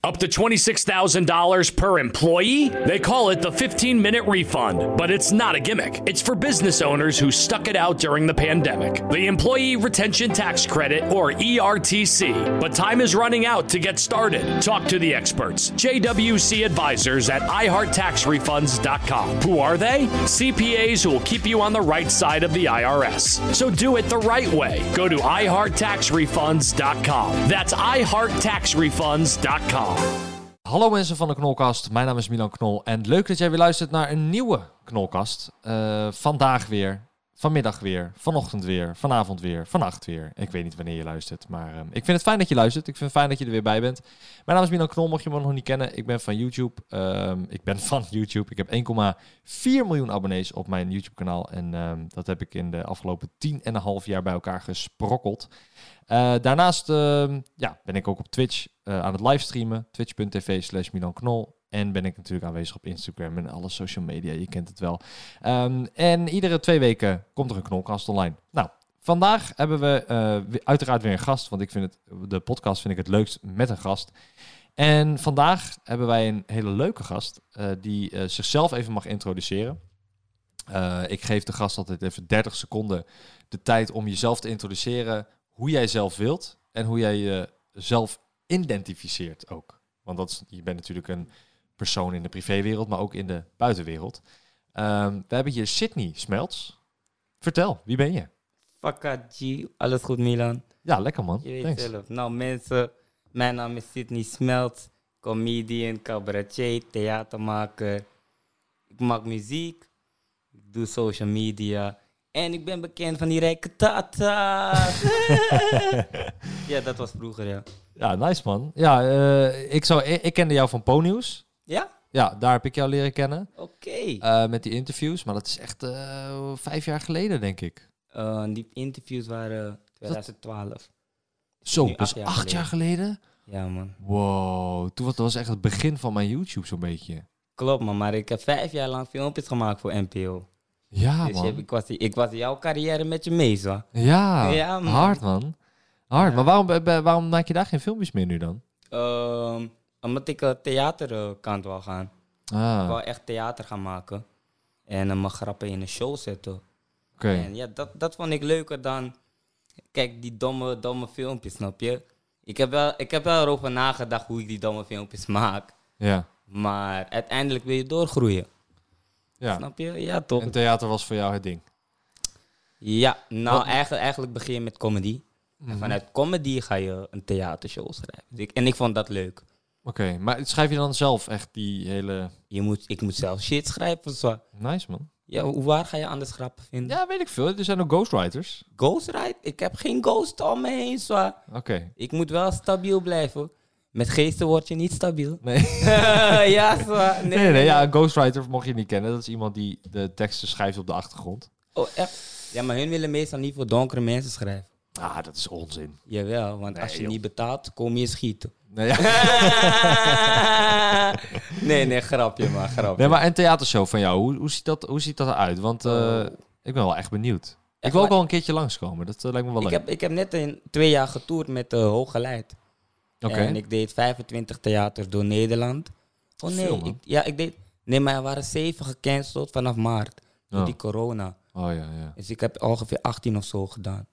Up to $26,000 per employee? They call it the 15 minute refund, but it's not a gimmick. It's for business owners who stuck it out during the pandemic. The Employee Retention Tax Credit, or E ERTC. But time is running out to get started. Talk to the experts, JWC advisors at iHeartTaxRefunds.com. Who are they? CPAs who will keep you on the right side of the IRS. So do it the right way. Go to iHeartTaxRefunds.com. That's iHeartTaxRefunds.com. Hallo mensen van de Knolkast, mijn naam is Milan Knol en leuk dat jij weer luistert naar een nieuwe Knolkast. Eh, vandaag weer, vanmiddag weer, vanochtend weer, vanavond weer, vannacht weer. Ik weet niet wanneer je luistert, maar ehm, ik vind het fijn dat je luistert. Ik vind het fijn dat je er weer bij bent. Mijn naam is Milan Knol, mocht je me nog niet kennen. Ik ben van YouTube. Ehm, ik ben van YouTube. Ik heb 1,4 miljoen abonnees op mijn YouTube kanaal en ehm, dat heb ik in de afgelopen 10,5 jaar bij elkaar gesprokkeld. Eh, daarnaast ehm, ja, ben ik ook op Twitch eh, aan het livestreamen. Twitch.tv slash Milan Knol. En ben ik natuurlijk aanwezig op Instagram en alle social media. Je kent het wel. Ehm, en iedere twee weken komt er een knolkast online. Nou, vandaag hebben we eh, we- uiteraard weer een gast. Want ik vind het, de podcast vind ik het leukst met een gast. En vandaag hebben wij een hele leuke gast eh, die eh, zichzelf even mag introduceren. Eh, ik geef de gast altijd even 30 seconden de tijd om jezelf te introduceren hoe jij zelf wilt en hoe jij jezelf identificeert ook. Want dat is, je bent natuurlijk een persoon in de privéwereld, maar ook in de buitenwereld. Ehm, we hebben hier Sydney Smelts. Vertel, wie ben je? Fakka G, alles goed Milan? Ja, lekker man. Je weet Thanks. zelf. Nou mensen, mijn naam is Sidney Smelt, comedian, cabaretier, theatermaker. Ik maak muziek, ik doe social media en ik ben bekend van die rijke tata. ja, dat was vroeger ja. Ja, nice man. Ja, eh, ik, zou, ik, ik kende jou van Ponyus. Ja? Ja, daar heb ik jou leren kennen. Oké. eh, met die interviews, maar dat is echt eh, vijf jaar geleden, denk ik. Eh, die interviews waren 2012. Zo, Nu dus acht, jaar, geleden? Ja man. Wow, toen was, dat was echt het begin van mijn YouTube zo'n beetje. Klopt man, maar ik heb vijf jaar lang filmpjes gemaakt voor NPO. Ja, dus Ah, man. je hebt- ik, was, ik was jouw carrière met je mee, zo. Ja, Ja, man. hard man. Hard. Maar waarom, eh, eh, waarom maak je daar geen filmpjes meer nu dan? Ehm, omdat ik de theaterkant wil gaan. Ik Ah, wil oké. echt theater gaan maken. En eh, mijn grappen in een show zetten. En ja, dat, dat vond ik leuker dan... Kijk, die domme, domme filmpjes, snap je? Ik heb, wel, ik heb wel erover nagedacht hoe ik die domme filmpjes maak. Ja. Maar uiteindelijk wil je doorgroeien. ja. Snap je? Ja, toch? En theater was voor jou het ding. Ja, nou Wat- Mhm. eigenlijk, eigenlijk begin je met comedy. En vanuit comedy ga je een theatershow schrijven. Dus ik- en ik vond dat leuk. Oké, maar schrijf je dan zelf echt die hele... Je moet, ik moet zelf shit schrijven. Zo. Nice man. Ja, hoe- waar ga je anders grappen vinden? Ja, weet ik veel. Er zijn ook ghostwriters. Ghostwrite? Ik heb geen ghost om me heen, zwa. Oké. Ik moet wel stabiel blijven. Met geesten word je niet stabiel. Nee. ja, zwa. Nee, nee, nee, ja, een ghostwriter mocht je niet kennen. Dat is iemand die de teksten schrijft op de achtergrond. Oh, echt? Ja, maar hun willen meestal niet voor donkere mensen schrijven. Ah, dat is onzin. Jawel, want als je joh. niet betaalt, kom je schieten. Nee, ja. nee, nee, grapje maar, grapje. nee maar een theatershow van jou, hoe, hoe, ziet, dat, hoe ziet dat eruit? Want eh, Oh. ik ben wel echt benieuwd. ik wil ook wel een keertje langskomen. Dat eh, lijkt me wel ik, leuk. heb, ik heb net in twee jaar getoerd met eh, de Hooggeleid. Oké. En ik deed 25 theaters door Nederland. Oh nee, Veel, man. ik, ja, ik deed. Nee, maar er waren zeven gecanceld vanaf maart. Door Oh. die corona. Oh ja, ja. Dus ik heb ongeveer 18 of zo gedaan.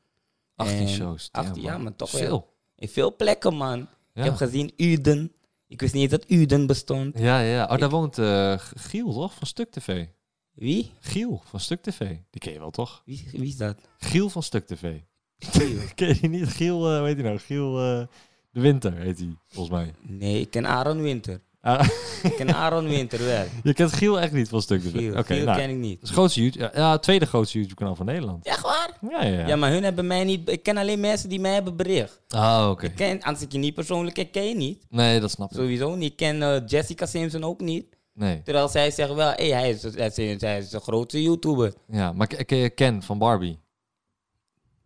18 En shows. 18, ja, maar toch wel. veel. In veel plekken, man. Ja. Ik heb gezien Uden. Ik wist niet eens dat Uden bestond. Ja, ja. Oh, daar woont eh, G- Giel, toch? Van Stuk TV. Wie? Giel van Stuk TV. Die ken je wel, toch? Wie, wie is dat? Giel van Stuk TV. Giel. Ken je die niet? Giel, eh, hoe heet hij nou? Giel eh, de Winter heet hij, volgens mij. nee, ik ken Aaron Winter. Ah, Ik ken Aaron Winter wel. je kent Giel echt niet van Stuk TV. Giel, Oké, Giel nou. ken ik niet. Het is het grootste YouTube, ja, ja, het tweede grootste YouTube-kanaal van Nederland. Echt waar? Ja, ja, Ja. ja. maar hun hebben mij niet... Ik ken alleen mensen die mij hebben bericht. Ah, oké. Ik ken, als ik je niet persoonlijk ken, ken je niet. Nee, dat snap ik. Sowieso niet. Ik ken eh, Jessica Simpson ook niet. Nee. Terwijl zij zeggen wel, hey, hij, is, hij, is, hij is de grootste YouTuber. Ja, maar ke- ken je Ken van Barbie?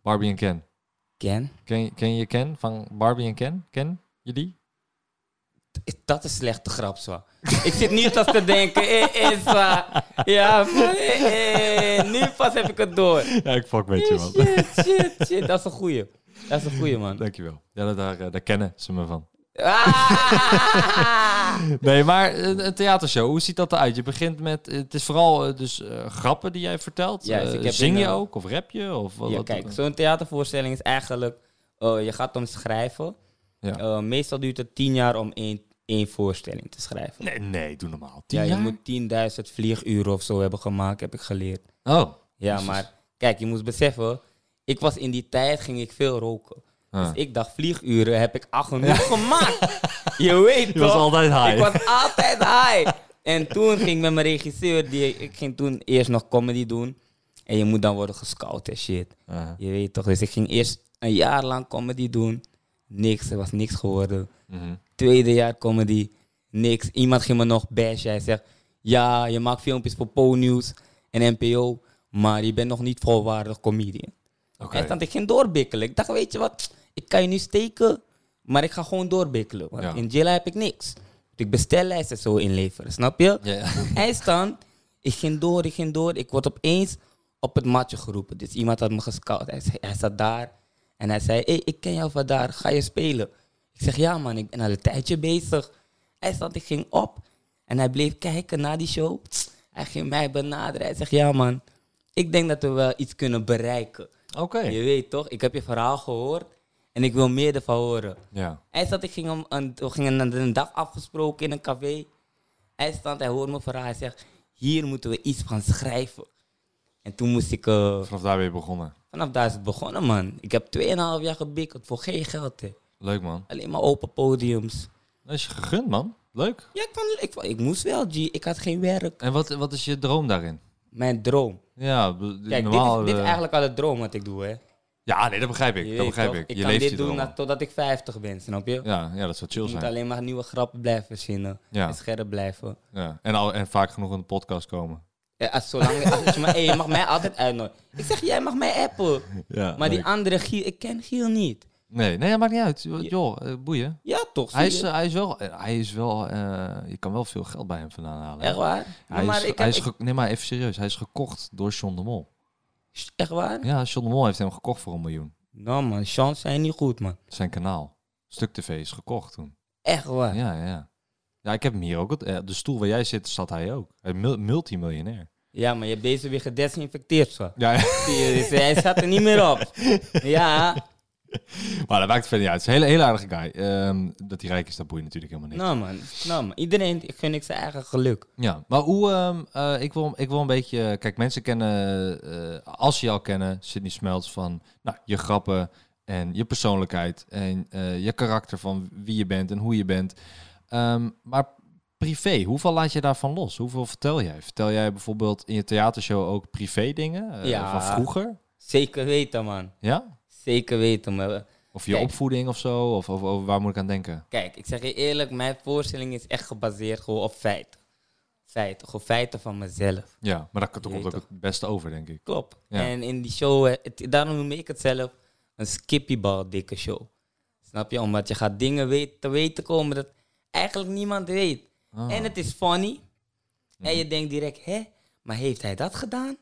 Barbie en Ken. Ken? Ken, je- ken je Ken van Barbie en Ken? Ken je die? Is dat een slechte grap, zo? Ik zit nu pas te denken, eh, eh, zwa. Ja, eh, eh, nu pas heb ik het door. Ja, ik fuck met Shit, shit, shit. Dat is een goeie. Dat is een goeie, man. Dankjewel. Ja, daar, daar, eh, daar kennen ze me van. Ah! Nee, maar eh, een, een theatershow, hoe ziet dat eruit? Je begint met, het is vooral eh, dus eh, grappen die jij vertelt. Ja, dus Eh, ik heb zing in, je eh, ook of rap je? Of wat, Ja, wat- kijk, zo'n theatervoorstelling is eigenlijk... eh, je gaat hem schrijven. Ja. Eh, meestal duurt het tien jaar om één, één voorstelling te schrijven. Nee, nee, doe normaal. Tien Ja, je jaar? moet 10.000 vlieguren of zo hebben gemaakt, heb ik geleerd. Oh. Ja, Jezus. maar kijk, je moet beseffen... Ik was in die tijd, ging ik veel roken. Ah. Dus ik dacht, vlieguren heb ik al genoeg gemaakt. Je weet Je was toch? altijd high. Ik was altijd high. En toen ging ik met mijn regisseur, die, ik ging toen eerst nog comedy doen. En je moet dan worden gescout en shit. Ah. Je weet toch, dus ik ging eerst een jaar lang comedy doen. Niks, er was niks geworden. Mhm. Tweede jaar comedy, niks. Iemand ging me nog bashen. Hij zegt, ja, je maakt filmpjes voor Po-nieuws en NPO, maar je bent nog niet volwaardig comedian. Oké. En dan ik ging doorbikkelen. Ik dacht, weet je wat, ik kan je nu steken, maar ik ga gewoon doorbikkelen. Want Ja. in Jilla heb ik niks. Dus ik bestellijsten zo inleveren, snap je? Ja. Hij staan, ik ging door, ik ging door. Ik word opeens op het matje geroepen. Dus iemand had me gescout. Hij, zei- hij zat daar en hij zei, hey, ik ken jou van daar, ga je spelen? Ik zeg, ja man, ik ben al een tijdje bezig. Hij stond, ik ging op en hij bleef kijken naar die show. Hij ging mij benaderen. Hij zegt, ja man, ik denk dat we wel iets kunnen bereiken. Oké. Je weet toch, ik heb je verhaal gehoord en ik wil meer ervan horen. Ja. Hij zat, ik ging hem een, we gingen een, een dag afgesproken in een café. Hij stond, hij hoort me verhaal. Hij zegt, hier moeten we iets van schrijven. En toen moest ik, eh, Vanaf daar ben je begonnen. vanaf daar is het begonnen man. Ik heb 2,5 jaar gebikkeld voor geen geld. Hè. Leuk, man. Alleen maar open podiums. Dat is je gegund, man. Leuk. Ja, ik, vond- ik, vond- ik moest wel G, ik had geen werk. En wat, wat is je droom daarin? Mijn droom. Ja, be- Kijk, normaal... dit, is, dit is eh, eigenlijk al de droom wat ik doe hè. Ja, nee, dat begrijp ik. Je dat weet begrijp toch, ik. Ik je kan leeft dit die doen droom. na- totdat ik 50 ben, snap je? Ja, ja, dat zou chill Je moet zijn. alleen maar nieuwe grappen blijven verzinnen. Ja. En scherp blijven. Ja. En, al, en vaak genoeg in de podcast komen. Ja, als, zolang, als je, maar, hey, je mag mij altijd uitnodigen. Ik zeg, jij mag mij appen. Ja, Maar die leuk. andere Giel, ik ken Giel niet. Nee, nee, dat maakt niet uit. Joh, eh, boeien. Ja, toch? zie Hij is, je? eh, hij is wel... eh, Hij is wel eh, je kan wel veel geld bij hem vandaan halen. hè? echt waar? eh, Hij maar is, ik hij heb, is ik- ge- nee, maar even serieus. Hij is gekocht door John de Mol. echt waar? Ja, John de Mol heeft hem gekocht voor een miljoen. Nou man, chance zijn niet goed man. Zijn kanaal. Stuk TV is gekocht toen. Echt Ja, waar. Ja, ja. ja. Ja, ik heb hem hier ook. het- eh, De stoel waar jij zit, zat hij ook. Hij is mul- multimiljonair. maar je hebt deze weer gedesinfecteerd zo. Ja, Zie je, dus hij staat er niet meer op. Ja, maar dat maakt verder niet uit. Het is een hele, hele aardige guy. Ehm, dat hij rijk is, dat boeit natuurlijk helemaal niet. nou man. Nou man, iedereen gun ik zijn eigen geluk. Ja, maar hoe, ehm, eh, ik, wil, ik wil een beetje, kijk, mensen kennen, eh, als ze jou kennen, Sydney Smelts van nou, je grappen en je persoonlijkheid en eh, je karakter van wie je bent en hoe je bent. Ehm, maar privé, hoeveel laat je daarvan los? Hoeveel vertel jij? Vertel jij bijvoorbeeld in je theatershow ook privé dingen eh, Ja. van vroeger? Zeker weten man. Ja? Zeker weten man. Of je Kijk. opvoeding of zo? Of, of, of waar moet ik aan denken? Kijk, ik zeg je eerlijk, mijn voorstelling is echt gebaseerd gewoon op feiten. Feiten, gewoon feiten van mezelf. Ja, maar dat, dat Jeetje. komt ook het beste over, denk ik. Klopt. Ja. En in die show, eh, het- daarom noem ik het zelf een skippiebal dikke show. Snap je? Omdat je gaat dingen weet, te weten komen dat eigenlijk niemand weet. Ah. Mhm. En het is funny. En je denkt direct, hè? Maar heeft hij dat gedaan?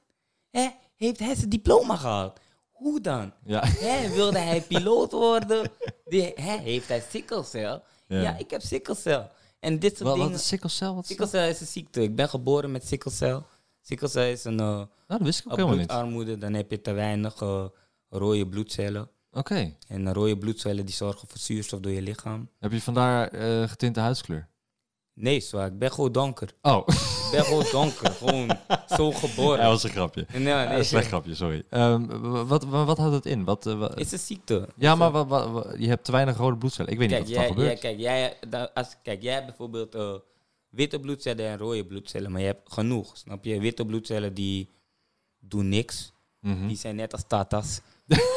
Hè? Heeft hij zijn diploma gehaald? Hoe dan? Ja. Hè? Wilde hij piloot worden? Die, hè? Heeft hij sickle cell? Ja. Ja. ik heb sickle cell. En dit soort Wat, dingen. wat is sickle cell? Wat is Sickle dat? cell is een ziekte. Ik ben geboren met sickle cell. Sickle cell is een... eh, Nou, dat wist ik ook op helemaal niet. Oké. bloedarmoede, dan heb je te weinig eh, rode bloedcellen. En rode bloedcellen die zorgen voor zuurstof door je lichaam. Heb je vandaar eh getinte huidskleur? Nee, zwaar. Ik ben gewoon donker. Oh, Ik ben gewoon donker. gewoon zo geboren. dat was een grapje. Nee, nee, Een slecht grapje, sorry. Ehm, wa- wat, wa- wat houdt het in? Wat, eh, wa- Het is een ziekte. ja, maar wa- wa- wa- je hebt te weinig rode bloedcellen. Ik weet Kijk, niet wat er jij, dan jij, gebeurt. kijk, jij, da- als, kijk, jij hebt bijvoorbeeld eh, witte bloedcellen en rode bloedcellen, maar je hebt genoeg. Snap je? Witte bloedcellen die doen niks. Mhm. Die zijn net als tatas.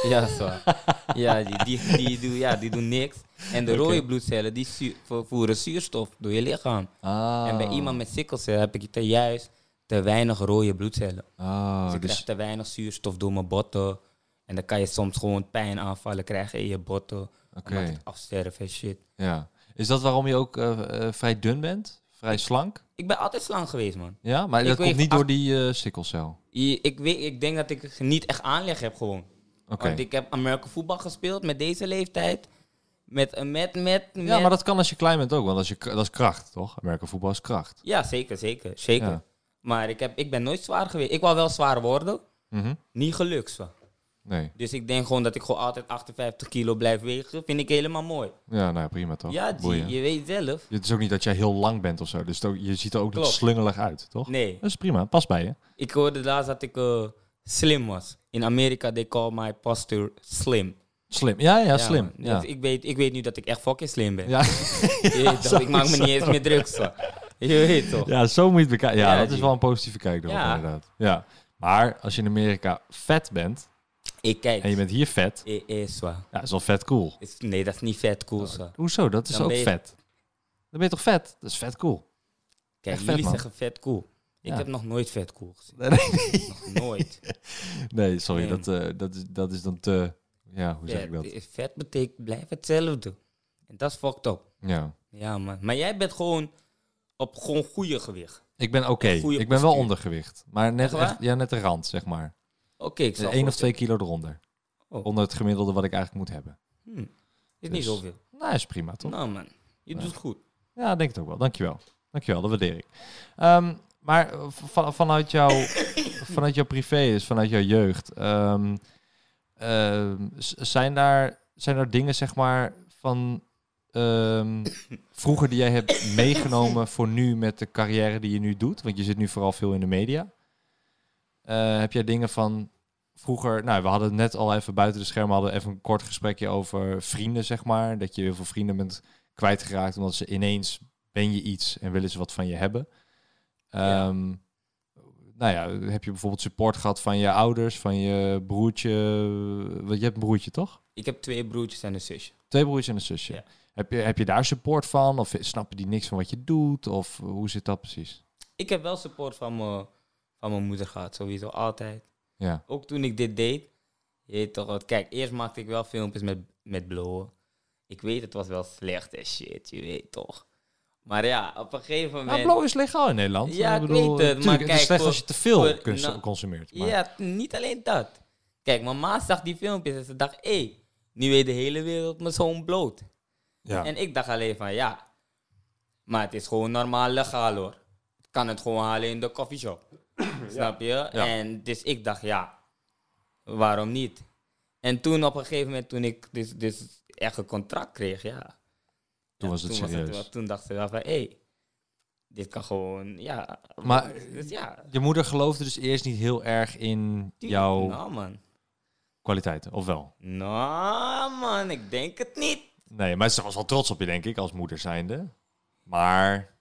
ja, dat is waar. Ja, die, die, die, doen, ja, die doen niks. En de rode bloedcellen die zuur- vervoeren zuurstof door je lichaam. Ah. En bij iemand met sikkelcel heb ik te juist te weinig rode bloedcellen. Ah, Dus ik dus, krijg te weinig zuurstof door mijn botten. En dan kan je soms gewoon pijn aanvallen krijgen in je botten. Oké. Omdat het afsterven en shit. ja. Is dat waarom je ook eh, eh, vrij dun bent? Vrij slank? Ik ben altijd slang geweest, man. Ja, maar Ik dat komt weeg niet acht- door die eh sikkelcel. Je- Ik, weet, ik denk dat ik het niet echt aanleg heb gewoon. Oké. Want ik heb Amerika voetbal gespeeld met deze leeftijd. Met, eh, met, met, met. Ja, maar dat kan als je klein bent ook, want als je, dat is kracht, toch? Amerika voetbal is kracht. Ja, zeker, zeker, zeker. Ja. Maar ik, heb, ik ben nooit zwaar geweest. Ik wou wel zwaar worden, Mhm. niet gelukt zo. Nee. Dus ik denk gewoon dat ik gewoon altijd 58 kilo blijf wegen. Vind ik helemaal mooi. Ja, nou ja, prima toch? ja, G, Boeien. je weet zelf. Het is ook niet dat jij heel lang bent of zo. Dus het ook- je ziet er ook niet Klopt. slungelig uit, toch? Nee, Dat is prima, past bij je. ik hoorde laatst dat ik eh, slim was. In Amerika, they call my posture slim. Slim. Ja, ja, slim. man. Ja. Dus ik, weet, ik weet nu dat ik echt fucking slim ben. Ja. Je weet toch, ik maak me niet eens meer druk. Zo. Je weet toch? ja, zo moet je het bekijken. Ja, Ja, dat is die- wel een positieve kijk erop, Ja. inderdaad. Ja. Maar als je in Amerika vet bent Ik kijk. en je bent Oh, hier vet, Eh, eh, zo. ja, is wel vet cool. Is- Nee, dat is niet vet cool. Zo. Hoezo? Dat is Dan ook ben je- vet. Dan ben je toch vet? Dat is vet cool. Kijk, Echt vet, jullie man. zeggen vet cool. Ik Ja. heb nog nooit vet cool gezien. Nee, Nog nooit. Nee, sorry, Nee. dat, eh, dat, is, dat is dan te... Ja, hoe zeg ik dat? Vet, eh, vet betekent blijf hetzelfde. En dat is fucked up. Ja. Ja, man. Maar jij bent gewoon op gewoon goede gewicht. Ik ben oké. goede Ik ben wel postuur. ondergewicht. Maar net, Echt waar? echt, ja, net de rand, zeg maar. Oké, ik zal Eén of voorstellen. twee kilo eronder. Oh. Onder het gemiddelde wat ik eigenlijk moet hebben. Hm. Is niet Dus- zoveel. Nou, is prima, toch? Nou, man. Je doet het goed. Ja, denk het ook wel. Dankjewel. Dankjewel, dat waardeer ik. Ehm, maar eh, van- vanuit, jouw, vanuit jouw privé, dus vanuit jouw jeugd, ehm, ehm, z- zijn, daar, zijn daar dingen, zeg maar, van ehm, vroeger die jij hebt meegenomen voor nu met de carrière die je nu doet? Want je zit nu vooral veel in de media. Eh, heb jij dingen van vroeger, nou, we hadden het net al even buiten de schermen, hadden we even een kort gesprekje over vrienden, zeg maar. Dat je heel veel vrienden bent kwijtgeraakt omdat ze ineens ben je iets en willen ze wat van je hebben. Ja. Ehm, Nou ja, heb je bijvoorbeeld support gehad van je ouders, van je broertje? Want je hebt een broertje, toch? Ik heb twee broertjes en een zusje. Twee broertjes en een zusje. Ja. Heb, je, heb je daar support van? Of snappen die niks van wat je doet? Of hoe zit dat precies? Ik heb wel support van mijn van mijn moeder gehad, sowieso altijd. Ja, Ook toen ik dit deed, je weet toch wat. Kijk, eerst maakte ik wel filmpjes met, met blowen. Ik weet, het was wel slecht en shit, je weet toch. Maar ja, op een gegeven nou, moment... blow is legaal in Nederland. Ja, ik weet het, maar tuurlijk, het kijk, is slecht voor- als je te veel voor- cons- nou, consumeert. Maar, Ja, t- niet alleen dat. Kijk, mijn ma zag die filmpjes en ze dacht, hé, hey, nu weet de hele wereld mijn zoon bloot. ja. En ik dacht alleen van, ja, maar het is gewoon normaal legaal hoor. Ik kan het gewoon halen in de coffeeshop. Snap je? En dus ik dacht, ja, waarom niet? En toen op een gegeven moment, toen ik dus, dus echt een contract kreeg, ja. Toen Ja, was het serieus. wel- toen dacht ze wel van, hé, hey, dit kan gewoon, ja. Maar- dus ja, Je moeder geloofde dus eerst niet heel erg in jouw Nou man. kwaliteiten, of wel? Nou man, ik denk het niet. Nee, maar ze was wel trots op je, denk ik, als moeder zijnde. Maar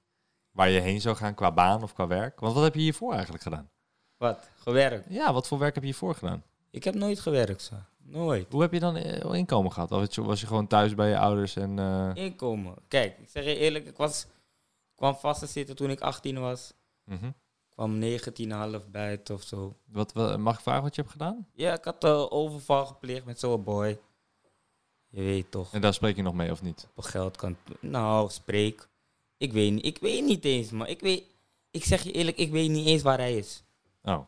waar je heen zou gaan qua baan of qua werk. Want wat heb je hiervoor eigenlijk gedaan? Wat? Gewerkt? Ja, wat voor werk heb je hiervoor gedaan? Ik heb nooit gewerkt, zo. Nooit. Hoe heb je dan eh, inkomen gehad? Of het- was je gewoon thuis bij je ouders en... eh, Inkomen. Kijk, ik zeg je eerlijk, ik was, kwam vast te zitten toen ik 18 was. mhm. kwam 19,5 buiten of zo. wat, wat- mag ik vragen wat je hebt gedaan? Ja, ik had eh, overval gepleegd met zo'n boy. Je weet toch, En daar spreek je nog mee of niet? op geld kan... Nou, spreek. Ik weet, niet- ik weet niet eens, maar ik weet... Ik zeg je eerlijk, ik weet niet eens waar hij is. Oh,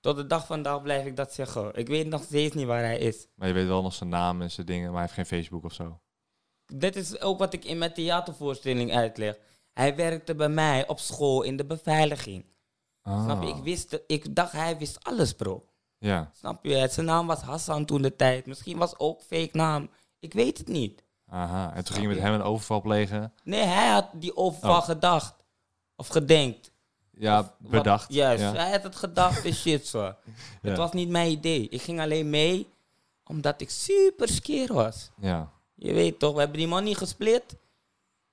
Tot de dag vandaag blijf ik dat zeggen. Ik weet nog steeds niet waar hij is. maar je weet wel nog zijn naam en zijn dingen, maar hij heeft geen Facebook of zo. Dit is ook wat ik in mijn theatervoorstelling uitleg. Hij werkte bij mij op school in de beveiliging. Ah, Snap je? Ik, wist, het- ik dacht, hij wist alles, bro. Ja. Snap je? Zijn naam was Hassan toen de tijd. Misschien was ook fake naam. Ik weet het niet. Aha. En toen Snap ging je met je? hem een overval plegen. Nee, hij had die overval Oh. gedacht. Of gedenkt. Ja, Wat- bedacht. Juist, Ja. hij had het gedacht en shit zo. Ja. Het was niet mijn idee. Ik ging alleen mee omdat ik super skeer was. ja. Je weet toch, we hebben die man niet gesplit.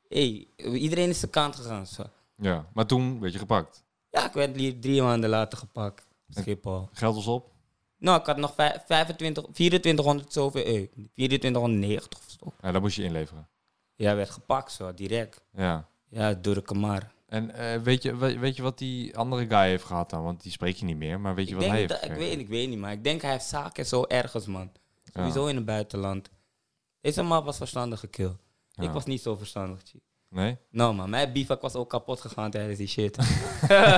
Hé, iedereen is zijn kant gegaan. Zo. Ja. Maar toen werd je gepakt. Ja, ik werd hier drie maanden later gepakt. op Schiphol. Geld was op. Nou, ik had nog vij- 25, 2400 zoveel euro. 2490 of zo. Ja, dat moest je inleveren. Ja, werd gepakt zo, direct. Ja. Ja, door de kamar. En eh, weet, je, we- weet je wat die andere guy heeft gehad dan? Want die spreek je niet meer, maar weet je Ik, wat hij denk heeft dat, ik, gekregen? weet, ik weet niet, maar ik denk hij heeft zaken zo ergens, man. Sowieso in het buitenland. Deze man was verstandige kill. Ja. Ik was niet zo verstandig, chief. Nee? Nou man, mijn bivak was ook kapot gegaan tijdens die shit.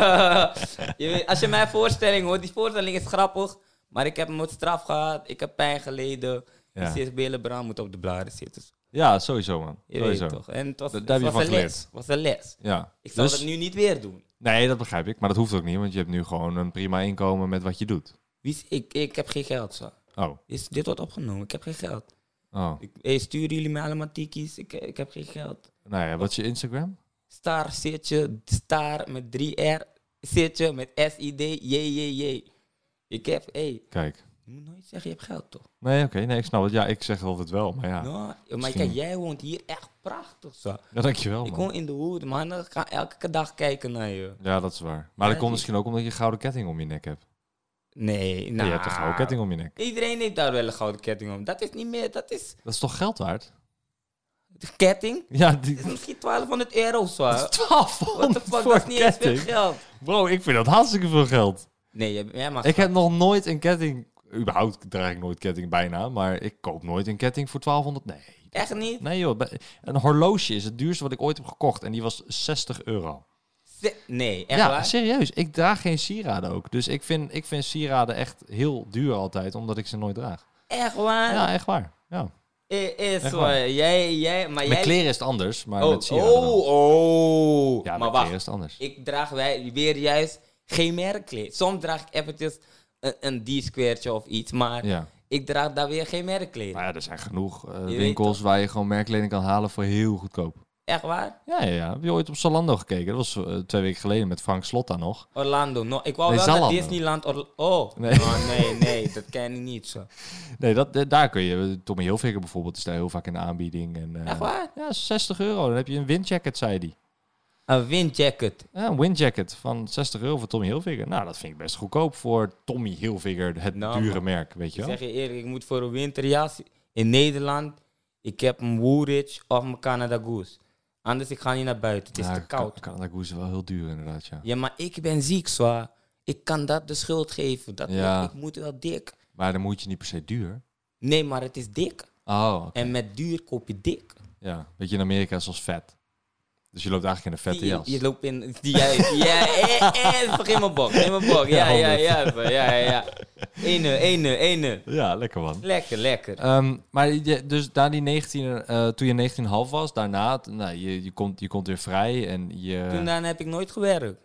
je weet, als je mijn voorstelling hoort, die voorstelling is grappig. Maar ik heb mijn straf gehad, ik heb pijn geleden. Dus Ja. Ik zit belenbrand, moet op de blaren zitten. dus Ja, sowieso man. Je sowieso. weet toch. En het was, Daar- daar het heb je was van een geleerd. les. was een les. Ja. Ik zal Dus- dat nu niet weer doen. Nee, dat begrijp ik. Maar dat hoeft ook niet, want je hebt nu gewoon een prima inkomen met wat je doet. Wie is- ik, ik heb geen geld, zo. Oh, Is, dit wordt opgenomen. Ik heb geen geld. oh. Ik, hey, sturen jullie me allemaal tikkies? Ik, ik heb geen geld. Nou ja, wat is je Instagram? Star zitje, star met 3R, zitje met S-I-D, J-J-J. Ik heb, hey, Kijk. je moet nooit zeggen je hebt geld, toch? Nee, oké. Nee, ik snap het. Ja, ik zeg altijd wel, maar ja. Nou, maar misschien. kijk, jij woont hier echt prachtig, zo. Ja, dankjewel Ik man. woon in de hoed, man. Ik ga elke dag kijken naar je. Ja, dat is waar. Maar dat Ja, komt misschien ook omdat je een gouden ketting om je nek hebt. Nee, Ja, nou. je hebt een gouden ketting om je nek. Iedereen heeft daar wel een gouden ketting om. Dat is niet meer, dat is... Dat is toch geld waard? De ketting Ja, die... is misschien 1200 euro, zo. What 1200 the fuck, voor dat is niet eens veel ketting. geld. Bro, ik vind dat hartstikke veel geld. Nee, jij, jij mag... Ik heb nog nooit een ketting... Überhaupt draag ik nooit ketting bijna, maar ik koop nooit een ketting voor 1200. Nee, Echt niet? Nee joh, bij- een horloge is het duurste wat ik ooit heb gekocht. En die was 60 euro. Ze- Nee, echt ja, waar? serieus. Ik draag geen sieraden ook. Dus ik vind, ik vind sieraden echt heel duur altijd, omdat ik ze nooit draag. Echt waar? Ja, echt waar. Ja. I- is Echt waar. waar. Jij, jij, maar Met jij... kleren is het anders, maar oh, met sieraden wel. oh, oh. Ja, maar met wacht. kleren is het anders. Ik draag wij weer juist geen merkkleed. Soms draag ik eventjes een, een D-square'tje of iets, maar Ja. ik draag daar weer geen merkkleed. Maar ja, er zijn genoeg eh, weet winkels waar je gewoon merkkleding kan halen voor heel goedkoop. Echt waar? Ja, ja, ja. Heb je ooit op Zalando gekeken? Dat was eh, twee weken geleden met Frank Slotta nog. Orlando. No, ik wou Nee, wel naar Zalando. Disneyland. Orla- oh, Nee. nee. nee, nee, dat ken ik niet zo. Nee, dat, eh, daar kun je... Tommy Hilfiger bijvoorbeeld is daar heel vaak in de aanbieding. En, eh, Echt waar? Ja, 60 euro. Dan heb je een windjacket, zei die. Een windjacket. Ja, een windjacket van 60 euro voor Tommy Hilfiger. Nou, dat vind ik best goedkoop voor Tommy Hilfiger, het Nou, dure man. merk, weet je Ik wel. zeg je eerlijk, ik moet voor een winterjas in Nederland. Ik heb een Woolrich of mijn Canada Goose. Anders ik ga niet naar buiten. Het is Ja, te koud. Can- Nou, Canada Goose is wel heel duur inderdaad, ja. Ja, maar ik ben ziek, zwaar. Ik kan dat de schuld geven. Dat Ja. ik, ik moet wel dik. Maar dan moet je niet per se duur. Nee, maar het is dik. Oh, oké. En met duur koop je dik. ja. Weet je, in Amerika is als vet. Dus je loopt eigenlijk in een vette Die- jas. Je, loopt in... Die, ja, ja, eh, eh, vergeet mijn bok. Neem mijn bok. Ja, ja, ja. Ja, ja, ja. 1 ene, ene. Ja, lekker man. Lekker, lekker. Ehm, maar je, dus na die 19, eh, toen je 19,5 was, daarna, t- nou, je, je, komt, je komt weer vrij en je... Toen daarna heb ik nooit gewerkt.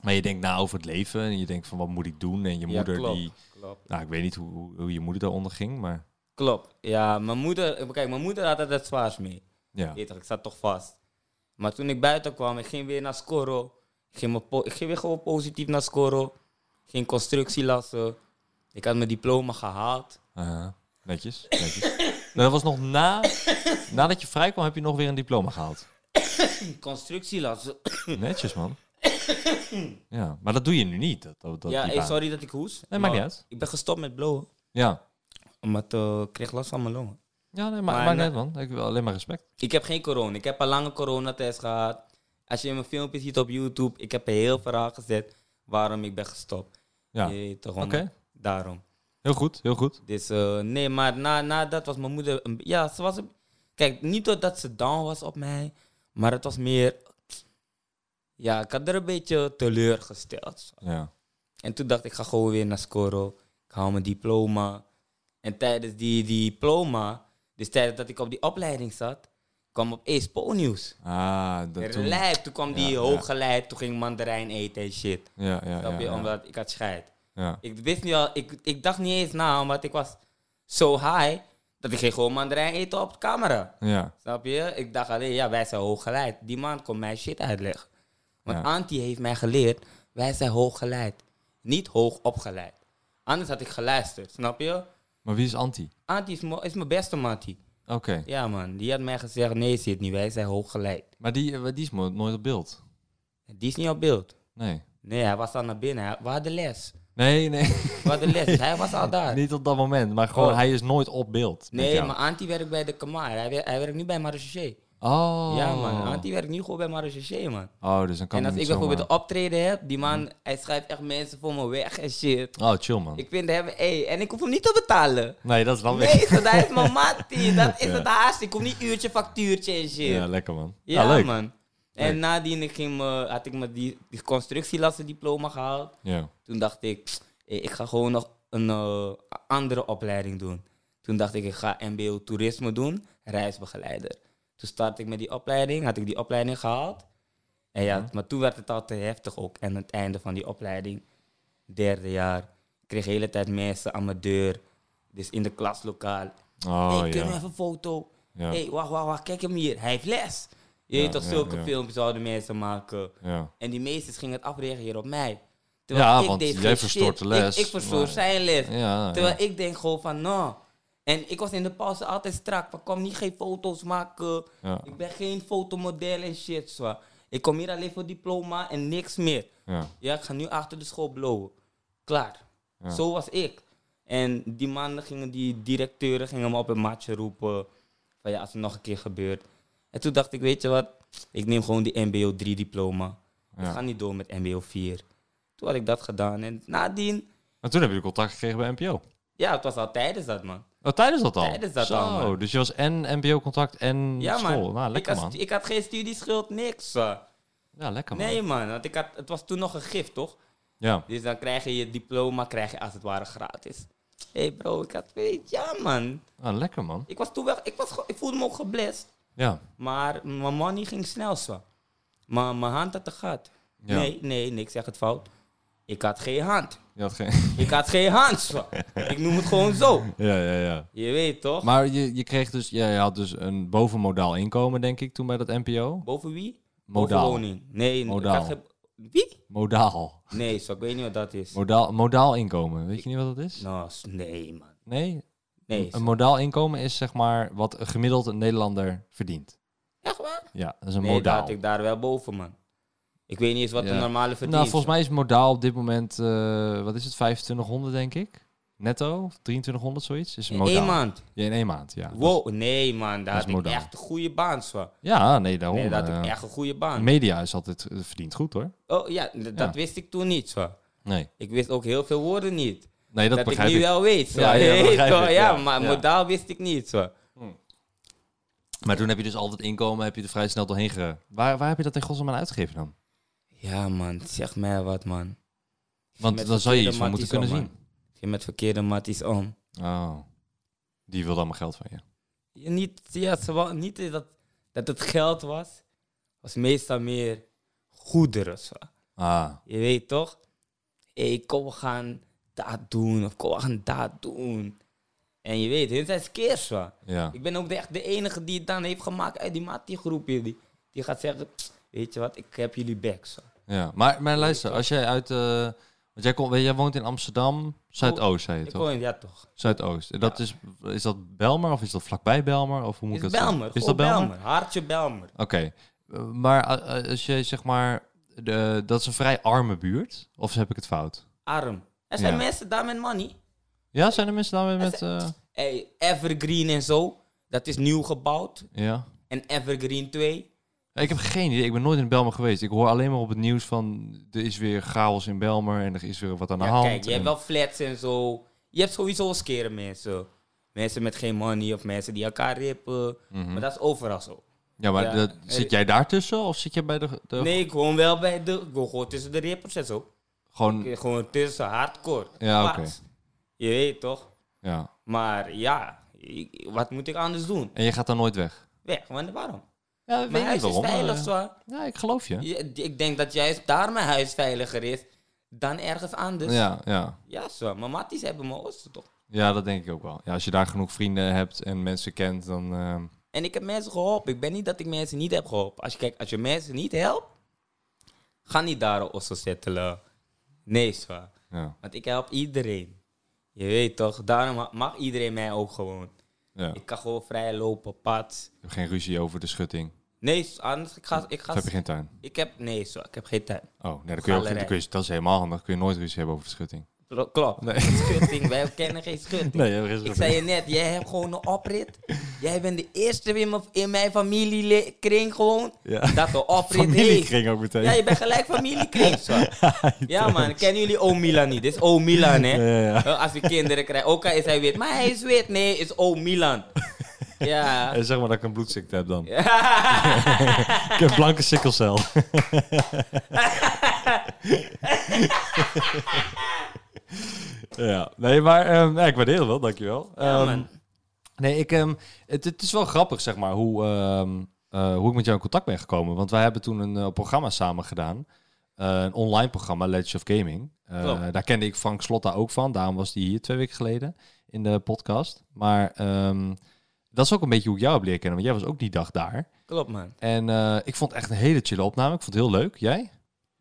Maar je denkt na over het leven en je denkt van, wat moet ik doen? En je Ja, moeder klopt. die... Klopt. Nou, ik weet niet hoe, hoe- hoe je moeder daaronder ging, maar... Klopt. Ja, mijn moeder... Kijk, mijn moeder had het het zwaarst mee. Ja. Weet toch, ik zat toch vast. Maar toen ik buiten kwam, ik ging weer naar Scoro. Ik ging, me po- ik ging weer gewoon positief naar Scoro. Ik ging constructie lassen. Ik had mijn diploma gehaald. Aha. uh-huh. Netjes, netjes. nou, dat was nog na... Nadat je vrij kwam, heb je nog weer een diploma gehaald. Constructie lassen. Netjes, man. Ja, maar dat doe je nu niet. Dat, dat, dat- ja, die hey, baan. sorry dat ik hoes. Nee, maar maakt niet uit. Ik ben gestopt met blowen. Ja. Omdat eh, ik kreeg last van mijn longen. Ja, nee, maar, Maar maakt niet na- uit, man. Ik wil alleen maar respect. Ik heb geen corona. Ik heb een lange coronatest gehad. Als je mijn filmpjes ziet op YouTube, ik heb een heel verhaal gezet waarom ik ben gestopt. Ja. Je weet toch, Oké. omdat- Daarom. Heel goed, heel goed. Dus eh, nee, maar na, na dat was mijn moeder. Een, ja, ze was. Een, kijk, niet doordat ze down was op mij, maar het was meer. Ja, ik had er een beetje teleurgesteld. Ja. En toen dacht ik, ik ga gewoon weer naar Scoro. Ik haal mijn diploma. En tijdens die diploma, dus tijdens dat ik op die opleiding zat, kwam op Expo nieuws. Ah, dat toen... Ja, Lijp, toen kwam die ja. hooggeleid, toen ging mandarijn eten en shit. ja, ja. Snap je? ja, Omdat ik had scheid. ja. Ik wist niet al, ik, ik dacht niet eens na, omdat ik was zo high dat ik ging gewoon mandarijn eten op de camera. Ja, Snap je? Ik dacht alleen, ja, wij zijn hooggeleid. Die man kon mij shit uitleggen. Want Ja. Anti heeft mij geleerd, wij zijn hooggeleid. Niet hoog opgeleid. Anders had ik geluisterd, snap je? Maar wie is anti? Anti is, mo- is mijn beste mattie. Oké. Ja, man, die had mij gezegd, nee, zit niet, wij zijn hooggeleid. Maar die, eh, die is mo- nooit op beeld. Die is niet op beeld. Nee. Nee, hij was al naar binnen. Hij- We hadden les. Nee, nee. We hadden les. dus Hij was al daar. niet op dat moment. Maar gewoon, Oh. hij is nooit op beeld. met Nee, jou. maar Anti werkt bij de Kamar. Hij, wer- hij werkt nu bij Marechaussee. Oh. Ja, man. Anti werkt nu gewoon bij Marechaussee, man. Oh, dus dan kan en het als niet ik zomaar. bijvoorbeeld een optreden heb, die man, hij schrijft echt mensen voor me weg en shit. Oh, chill, man. Ik vind hem, hé, en ik hoef hem niet te betalen. Nee, dat is wel Nee, zo, dat is mijn mattie. Dat is Oh, Ja. het haast. Ik hoef niet uurtje, factuurtje en shit. Ja, Ja, lekker, man. Ja, leuk. man. Leuk. En nadien ik ging me, had ik me die, die constructielassendiploma gehaald. Ja. Toen dacht ik, pst, hé, ik ga gewoon nog een eh, andere opleiding doen. Toen Toen dacht ik, ik ga MBO toerisme doen, reisbegeleider. Toen startte ik met die opleiding, had ik die opleiding gehaald. En ja, maar toen werd het al te heftig ook. En aan het einde van die opleiding, derde jaar, ik kreeg de hele tijd mensen aan mijn deur. Dus in de klaslokaal. Oh, hey, kun je ja. even een foto? Ja. hey, wacht, wacht, wacht, kijk hem hier. Hij heeft les. Je Ja, weet toch, ja, zulke ja. filmpjes zouden mensen maken. Ja. En die meesters gingen het afreageren op mij. Ja, want deed jij geen verstoort de shit. les, Ik, ik verstoor maar- zijn les. Ja, Terwijl ja. ik denk gewoon van, nou. En ik was in de pauze altijd strak. Van, kom niet geen foto's maken. Ja. Ik ben geen fotomodel en shit. Zo. Ik kom hier alleen voor diploma en niks meer. Ja. Ja, ik ga nu achter de school blowen. Klaar. Zo was ik. En die mannen gingen, die directeuren gingen me op een matje roepen. Van ja, als het nog een keer gebeurt. En toen dacht ik, weet je wat? Ik neem gewoon die MBO 3 diploma. Ja. Ik ga niet door met MBO 4. Toen had ik dat gedaan. En nadien, En toen heb je contact gekregen bij NPO. ja, het was al tijdens dat, man. Oh, tijdens dat al? Tijdens dat Zo, al, man. dus je was en MBO-contact en Ja, man. school. Nou, lekker ik, had, man. ik had geen studieschuld, niks. eh. Ja, lekker man. Nee, man. Want ik had, het was toen nog een gift, toch? Ja. Dus dan krijg je je diploma, krijg je als het ware gratis. Hé hey bro, ik had weet, ja man. Ah, lekker man. Ik was toen wel, ik, was, ge- ik voelde me ook geblest. Ja. Maar mijn money ging snel zo. Maar mijn hand had de gat. Ja. Nee, nee, nee, ik zeg het fout. Ik had geen hand. Je had geen... Ik had geen hand zo. Ik noem het gewoon zo. ja, ja, ja. Je weet toch? Maar je, je kreeg dus... Ja, je had dus een bovenmodaal inkomen, denk ik, toen bij dat NPO. Boven wie? Modaal. Boven woning. Nee, Modaal. Ik had geen- wie? Modaal. Nee, zo, ik weet niet wat dat is. Modaal, modaal inkomen. Weet je niet wat dat is? Nou, s- nee man. Nee? Nee. Een modaal inkomen is zeg maar wat een gemiddeld een Nederlander verdient. Echt waar? Ja, dat is een Nee, Oh, modaal. daar Nou, had ik daar wel boven, man. Ik weet niet eens wat Ja. een normale verdient. Nou, volgens mij is modaal op dit moment, eh, wat is het, 2500 denk ik? Netto, 2300 zoiets? Is een In modaal. één maand. Ja, in één maand, ja. Wow, nee man, daar dat is had ik modaal. Oh, echt een goede baan, zo. Ja, nee, daarom. Nee, daar had ik eh, echt een goede baan. Media is altijd eh, verdient goed hoor. Oh ja, d- dat Ja. wist ik toen niet, zo. Nee, Ik wist ook heel veel woorden niet. nee dat, Dat, ik begrijp nu ik. wel weet, zo. Ja, ja, dat Hey, begrijp zo, ik, ja, ja. maar Ja. modaal wist ik niet, zo. Maar toen heb je dus altijd inkomen, heb je er vrij snel doorheen ge... Waar, waar heb je dat in godsnaam aan uitgegeven dan? Ja man, zeg mij wat man. Want Met dan zou je verkeerde iets van moeten kunnen matties om, zien. man. Ik ging met verkeerde matties om. Oh, die wil dan mijn geld van je. Ja, niet, ja, ze wou- niet dat, dat het geld was, was meestal meer goederen, zo. Ah, Je weet toch? Hé, kom we gaan dat doen. Of kom we gaan dat doen. En je weet, hun zijn skeers man. ja. Ik ben ook de, echt de enige die het dan heeft gemaakt uit die matiegroep. hier. Die, die gaat zeggen, weet je wat, ik heb jullie back. Zo. ja. Maar, maar luister, als jij uit... eh, want jij, komt, jij woont in Amsterdam, Zuidoost, zei je Ik toch? hoor, ja toch. Zuidoost. En dat is, is dat Belmer of is dat vlakbij Belmer? Of hoe moet Is ik dat zeggen? Belmer. Is dat Belmer? Hartje Belmer. Oké. Eh, Maar a- a- als je zeg maar... De, dat is een vrij arme buurt. Of heb ik het fout? Arm. Er zijn Ja. mensen daar met money. Ja, zijn er mensen daar weer met... eh, Hey, Evergreen en zo. Dat is nieuw gebouwd. eh, ja. En Evergreen 2. Ik heb geen idee. Ik ben nooit in Belmer geweest. Ik hoor alleen maar op het nieuws van... Er is weer chaos in Belmer en er is weer wat aan de Ja, hand. kijk, je hebt en- wel flats en zo. Je hebt sowieso skere mensen. Mensen met geen money of mensen die elkaar rippen. Mhm. Maar dat is overal zo. Ja, maar ja. Eh, dat- zit jij daar tussen of zit je bij de... de Nee, ik woon wel bij de... Ik woon gewoon tussen de rippers en zo. Gewoon... Ik- Gewoon tussen, hardcore. Ja, Pats. oké. Je weet toch? Ja. Maar ja, ik- wat moet ik anders doen? En je gaat daar nooit weg? Weg, want waarom? Ja, ik Mijn weet niet huis is waarom. veilig, eh, zo. Ja, ik geloof je. Je- Ik denk dat juist daar mijn huis veiliger is dan ergens anders. Ja, Ja, ja. zo. Mijn matties hebben me oosten, toch? Ja, dat denk ik ook wel. Ja, als je daar genoeg vrienden hebt en mensen kent, dan... ehm, En ik heb mensen geholpen. Ik ben niet dat ik mensen niet heb geholpen. Als je kijkt, als je mensen niet helpt, ga niet daar een osso settelen. Nee, zwaar. ja, Want ik help iedereen. Je weet toch, daarom ma- mag iedereen mij ook gewoon. ja. Ik kan gewoon vrij lopen, pad. Ik heb geen ruzie over de schutting. Nee, s- anders ik ga, ik Of ga. dus heb je geen tuin? Ik heb nee, zo, ik heb geen tijd. Oh, nee, dan kun je ook, Galerij. dan kun je, dat is helemaal handig. Dan kun je nooit ruzie hebben over de schutting. Klo- Klopt. Schutting, wij kennen geen schutting. er is Ik zei je net, jij hebt gewoon een oprit. Jij bent de eerste in mijn, in mijn familiekring gewoon. Ja. Dat de oprit heeft. Familiekring ook meteen. Ja, je bent gelijk familiekring. zo. Ja, man. Kennen jullie oom Milan niet? Dit is oom Milan, hè? Ja, ja, ja. Eh, Als we kinderen krijgen. Ook al is hij wit. Maar hij is wit. Nee, is oom Milan. Ja. Eh, Zeg maar dat ik een bloedziekte heb dan. ik heb blanke sikkelcel. ja, nee, maar ehm, ja, ik waardeer het wel, dankjewel. Ja, Ehm, man. Nee, ik, ehm, het, het is wel grappig, zeg maar, hoe, ehm, eh, hoe ik met jou in contact ben gekomen. Want wij hebben toen een eh, programma samen gedaan. Eh, een online programma, Legends of Gaming. Eh, Klopt. daar kende ik Frank Slotta ook van. Daarom was die hier twee weken geleden in de podcast. Maar ehm, dat is ook een beetje hoe ik jou heb leren kennen. Want jij was ook die dag daar. Klopt, man. En eh, ik vond het echt een hele chille opname. Ik vond het heel leuk. Jij?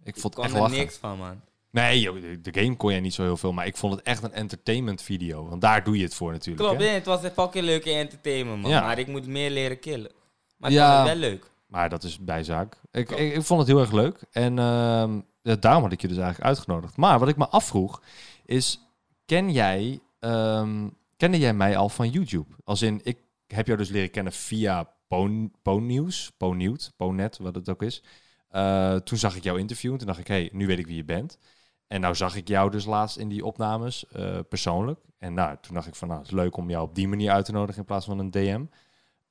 Ik vond Ik het kon echt er lachen. niks van, man. Nee, joh, de- de game kon jij niet zo heel veel. Maar ik vond het echt een entertainment video. Want daar doe je het voor natuurlijk. Klopt, hè? nee, het was een fucking leuke entertainment, man. Ja. Maar ik moet meer leren killen. Maar het Ja. was wel leuk. Maar dat is bijzaak. Ik, ik, ik vond het heel erg leuk. En ehm, ja, daarom had ik je dus eigenlijk uitgenodigd. Maar wat ik me afvroeg is, ken jij, ehm, kende jij mij al van YouTube? Als in, ik heb jou dus leren kennen via Pon- Ponyus, Ponyut, Ponet, wat het ook is. Eh, toen zag ik jou interview en toen dacht ik, hé, hey, nu weet ik wie je bent. En nou zag ik jou dus laatst in die opnames, eh, persoonlijk. En nou, toen dacht ik van, nou, het is leuk om jou op die manier uit te nodigen in plaats van een DM.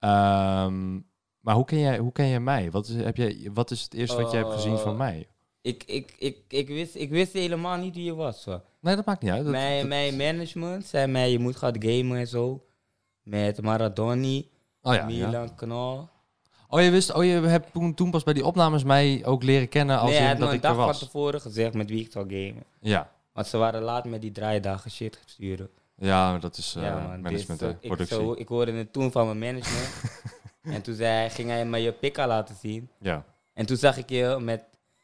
Ehm, maar hoe ken jij, hoe ken jij mij? Wat is, heb jij, wat is het eerste wat jij hebt gezien van Eh, mij? Ik, ik, ik, ik, wist, ik wist helemaal niet wie je was. hoor. Nee, dat maakt niet uit. Dat- Mijn, dat- mijn management zei mij, je moet gaan gamen en zo. Met Maradoni, oh, ja, ja. Milan Knol. Oh, je wist, oh, je hebt toen, toen pas bij die opnames mij ook leren kennen als Nee, hij in had me dat een ik er dag van was. tevoren gezegd met wie ik zou gamen. Ja. Want ze waren laat met die draaidagen shit sturen. ja, dat is eh, man, management, dus, hè, eh, ik, productie. zo, ik hoorde het toen van mijn management. en toen zei, hij- ging hij me je pika laten zien. Ja. En toen zag ik je met,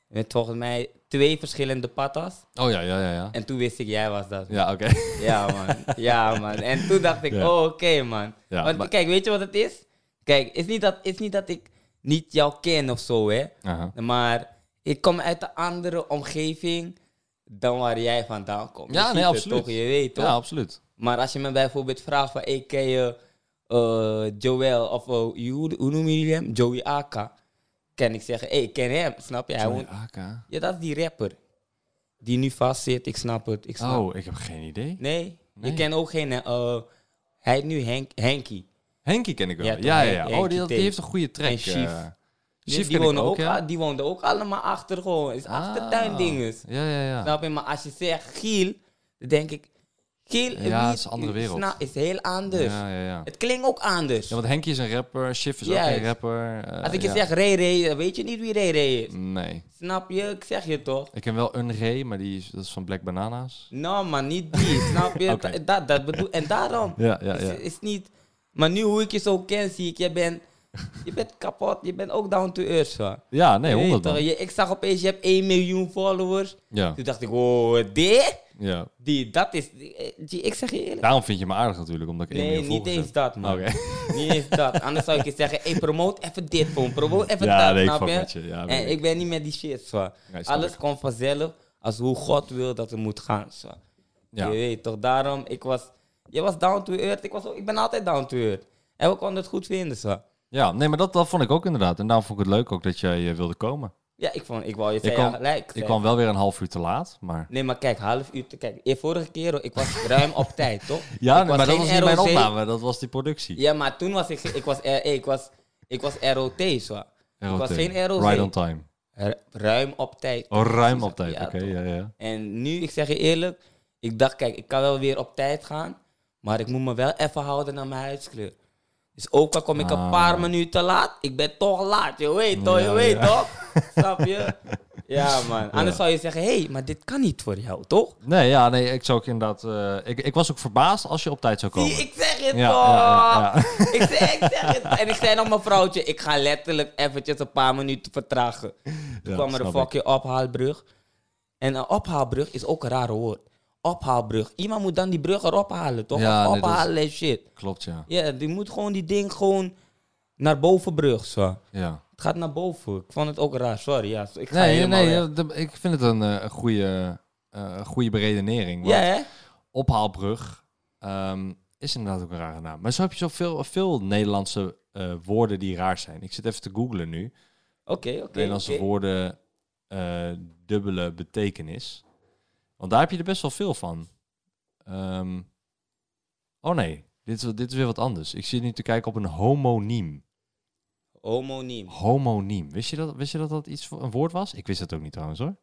met volgens mij twee verschillende patas. Oh ja, ja, ja. Ja, En toen wist ik, jij was dat. man. ja oké. Ja, man. Ja, man. En toen dacht ik, Ja. oh, oké, man. Ja, Want maar- kijk, weet je wat het is? Kijk, is niet dat, is niet dat ik niet jou ken of zo, hè. Aha. Maar ik kom uit een andere omgeving dan waar jij vandaan komt. Je Ja, ziet nee, het absoluut. toch, je weet toch? Ja, absoluut. Maar als je me bijvoorbeeld vraagt van, ik ken je eh, Joel of eh, hoe, hoe noem je hem? Joey Aka. Kan ik zeggen, hey, ik ken hem, snap je? Hij woont- AK. Ja, dat is die rapper. Die nu vast zit, ik snap het. Ik snap Oh, ik heb geen idee. Nee, Nee. je kent ook geen. eh, hij heet nu Henk, Henkie. Dus Henkie ken ik wel. Ja, Ja, toch, ja, Hen- ja. Oh, Henkie die, die T. heeft een goede track. En Chief. eh. Die, Chief ken die, ik woonden ook, ook, ja. Ah. a- die woonden ook allemaal achter gewoon. Is achtertuindinges. Ja, ja, ja. Snap je? Maar als je zegt Giel, dan denk ik. Giel Ja, wie- het is een andere wereld. Snap, is heel anders. Ja, ja, ja. Het klinkt ook anders. Ja, want Henkie is een rapper, Shift is ook Juist. een rapper. eh, als ik je ja. Mm. zeg Ray Ray, dan weet je niet wie Ray Ray is. Nee. Snap je? Ik zeg je toch? Ik ken wel een Ray, maar die is, dat is van Black Bananas. Nou, maar niet die. snap je? Oké. Dat- Dat, dat bedoel En daarom Ja, ja, is, ja. is niet. Maar nu hoe ik je zo ken, zie ik, je bent, je bent kapot. Je bent ook down to earth. hoor. Ja, nee, Je weet 100 toch, man. je- ik zag opeens, je hebt 1 miljoen followers. Ja, Toen dacht ik, oh, dit? ja. Die, dat is... die- eh, die- ik zeg je eerlijk. Daarom vind je me aardig natuurlijk, omdat ik één nee, miljoen niet volgers eens heb. dat, man. Oké. Niet eens dat. Anders zou ik je zeggen, hey, promote even dit, van Promote even Ja, dat, nee, ik snap fuck je? met je. Ja, weet en ik. ik ben niet met die shit, zo. Nee, snap Alles ik. komt vanzelf als hoe God wil dat het moet gaan, zo. Ja. Je weet toch, daarom, ik was... Je was down to earth, ik, was, ook- ik ben altijd down to earth. En we konden het goed vinden, zo. Ja, nee, maar dat, dat vond ik ook inderdaad. En daarom vond ik het leuk ook dat jij eh, wilde komen. Ja, ik vond, ik wou je Ik zeggen, kwam, gelijk. ik zei- kwam wel weer een half uur te laat, maar... Nee, maar kijk, half uur. te- Kijk, eh, vorige keer, hoor, ik was ruim op tijd, toch? Ja, Ik nee, maar dat geen was niet mijn ROC. opname, dat was die productie. Ja, maar toen was ik, ge- ik was, eh, eh, ik was, ik was ROT, zo. Ik was ROT. geen ROC. Right on time. Ru- Ruim op tijd. Dus Oh, ruim op tijd, Ja, oké, toch. ja, ja. En nu, ik zeg je eerlijk, ik dacht, kijk, ik kan wel weer op tijd gaan, maar ik moet me wel even houden aan mijn huidskleur. Dus ook al kom ik een Ah. paar minuten te laat, ik ben toch laat, je weet toch, Ja, je weet ja. toch? Snap je? Ja, man. Anders zou je zeggen, hé, hey, maar dit kan niet voor jou, toch? Nee, ja, nee, ik zou ook inderdaad... eh, ik, ik was ook verbaasd als je op tijd zou komen. Zie, ik zeg het Ja, toch. ja, ja, Ik, zeg, ik zeg het. En ik zei nog mijn vrouwtje, ik ga letterlijk eventjes een paar minuten vertragen. Toen Ja, kwam er een snap ik. fucking ophaalbrug. En een ophaalbrug is ook een raar woord. Ophaalbrug. Iemand moet dan die brug erop halen, toch? Ja, Of nee, dat is- ophalen en shit. Klopt, ja. Ja, die moet gewoon die ding gewoon naar boven brug, zo. ja. Het gaat naar boven. Ik vond het ook raar, sorry. Ja, ik ga Nee, helemaal nee, weg. ja, de- ik vind het een eh, een goede, eh, een goede beredenering. Ja, Want hè? ophaalbrug ehm, is inderdaad ook een rare naam. Maar zo heb je zoveel veel Nederlandse eh, woorden die raar zijn. Ik zit even te googlen nu. Oké, oké, Nederlandse oké. woorden eh, dubbele betekenis. Want daar heb je er best wel veel van. Ehm, oh nee, dit is, dit is weer wat anders. Ik zit nu te kijken op een homoniem. Homoniem. Homoniem. Wist je dat, wist je dat dat iets voor een woord was? Ik wist dat ook niet trouwens hoor.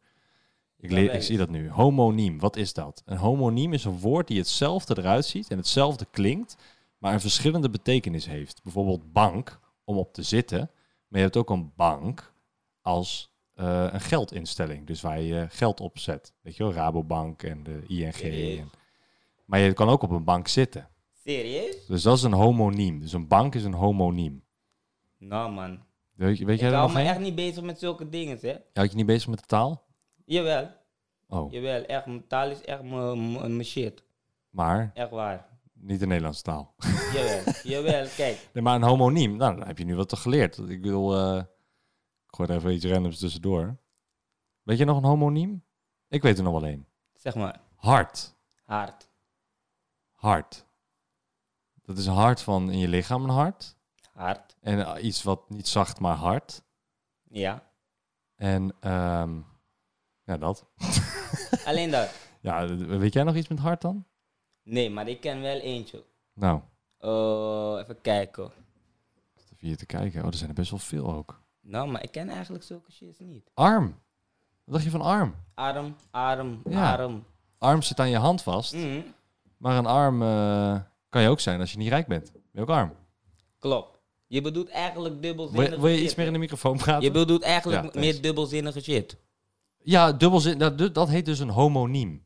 Ik, Ja, leer, wij- ik zie dat nu. Homoniem, wat is dat? Een homoniem is een woord die hetzelfde eruit ziet en hetzelfde klinkt, maar een verschillende betekenis heeft. Bijvoorbeeld bank, om op te zitten. Maar je hebt ook een bank als eh, een geldinstelling. Dus waar je geld op zet. Weet je wel, Rabobank en de ING. En... Maar je kan ook op een bank zitten. Serieus? Dus dat is een homoniem. Dus een bank is een homoniem. Nou man, Weet, je- weet jij dat ik hou nog me heen? echt niet bezig met zulke dingen, hè. Had je niet bezig met de taal? Jawel, Oh, jawel, echt, mijn taal is echt mijn- mijn mijn shit. maar Echt waar. niet de Nederlandse taal. Jawel, jawel, kijk. Nee, maar een homoniem, nou, dan heb je nu wat geleerd. Ik wil, eh ik gooi er even iets randoms tussendoor. Weet je nog een homoniem? Ik weet er nog wel één. Zeg maar, Hart. hard. Hart. Dat is een hart van in je lichaam een hart. Hard, En eh, iets wat niet zacht, maar hard. ja. En ehm, ja, dat. Alleen dat. Ja, d- weet jij nog iets met hart dan? Nee, maar ik ken wel eentje. Nou, Oh, even kijken. ik zit even hier te kijken. Oh, er zijn er best wel veel ook. Nou, maar ik ken eigenlijk zulke shit niet. Arm. Wat dacht je van arm? Arm, arm, Ja. arm. Arm zit aan je hand vast. Mhm. Maar een arm eh, kan je ook zijn als je niet rijk bent. Ben je ook arm. Klopt. Je bedoelt eigenlijk Wil, dubbelzinnige je- wil je shit, iets meer in de hè? microfoon praten? Je bedoelt eigenlijk Ja, thanks. meer dubbelzinnige shit. Ja, dubbelzin. Dat, dat- dat heet dus een homoniem.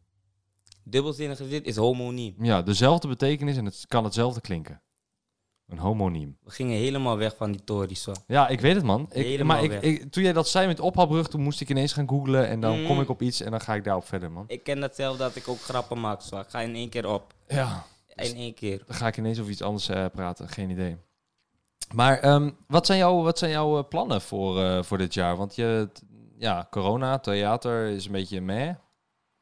Dubbelzinnige shit is homoniem. Ja, dezelfde betekenis en het kan hetzelfde klinken. Een homoniem. We gingen helemaal weg van die tories. hoor. Ja, ik weet het, man. Ik, Helemaal maar ik, weg. ik- toen jij dat zei met ophaalbrug, toen moest ik ineens gaan googlen. En dan Mm. kom ik op iets en dan ga ik daarop verder, man. Ik ken dat zelf dat ik ook grappen maak. Zo. Ik ga in één keer op. Ja, In één keer. dan ga ik ineens over iets anders eh, praten. Geen idee. Maar ehm, wat zijn jouw, wat zijn jouw eh, plannen voor, eh, voor dit jaar? Want je, t- ja, corona, theater is een beetje meh.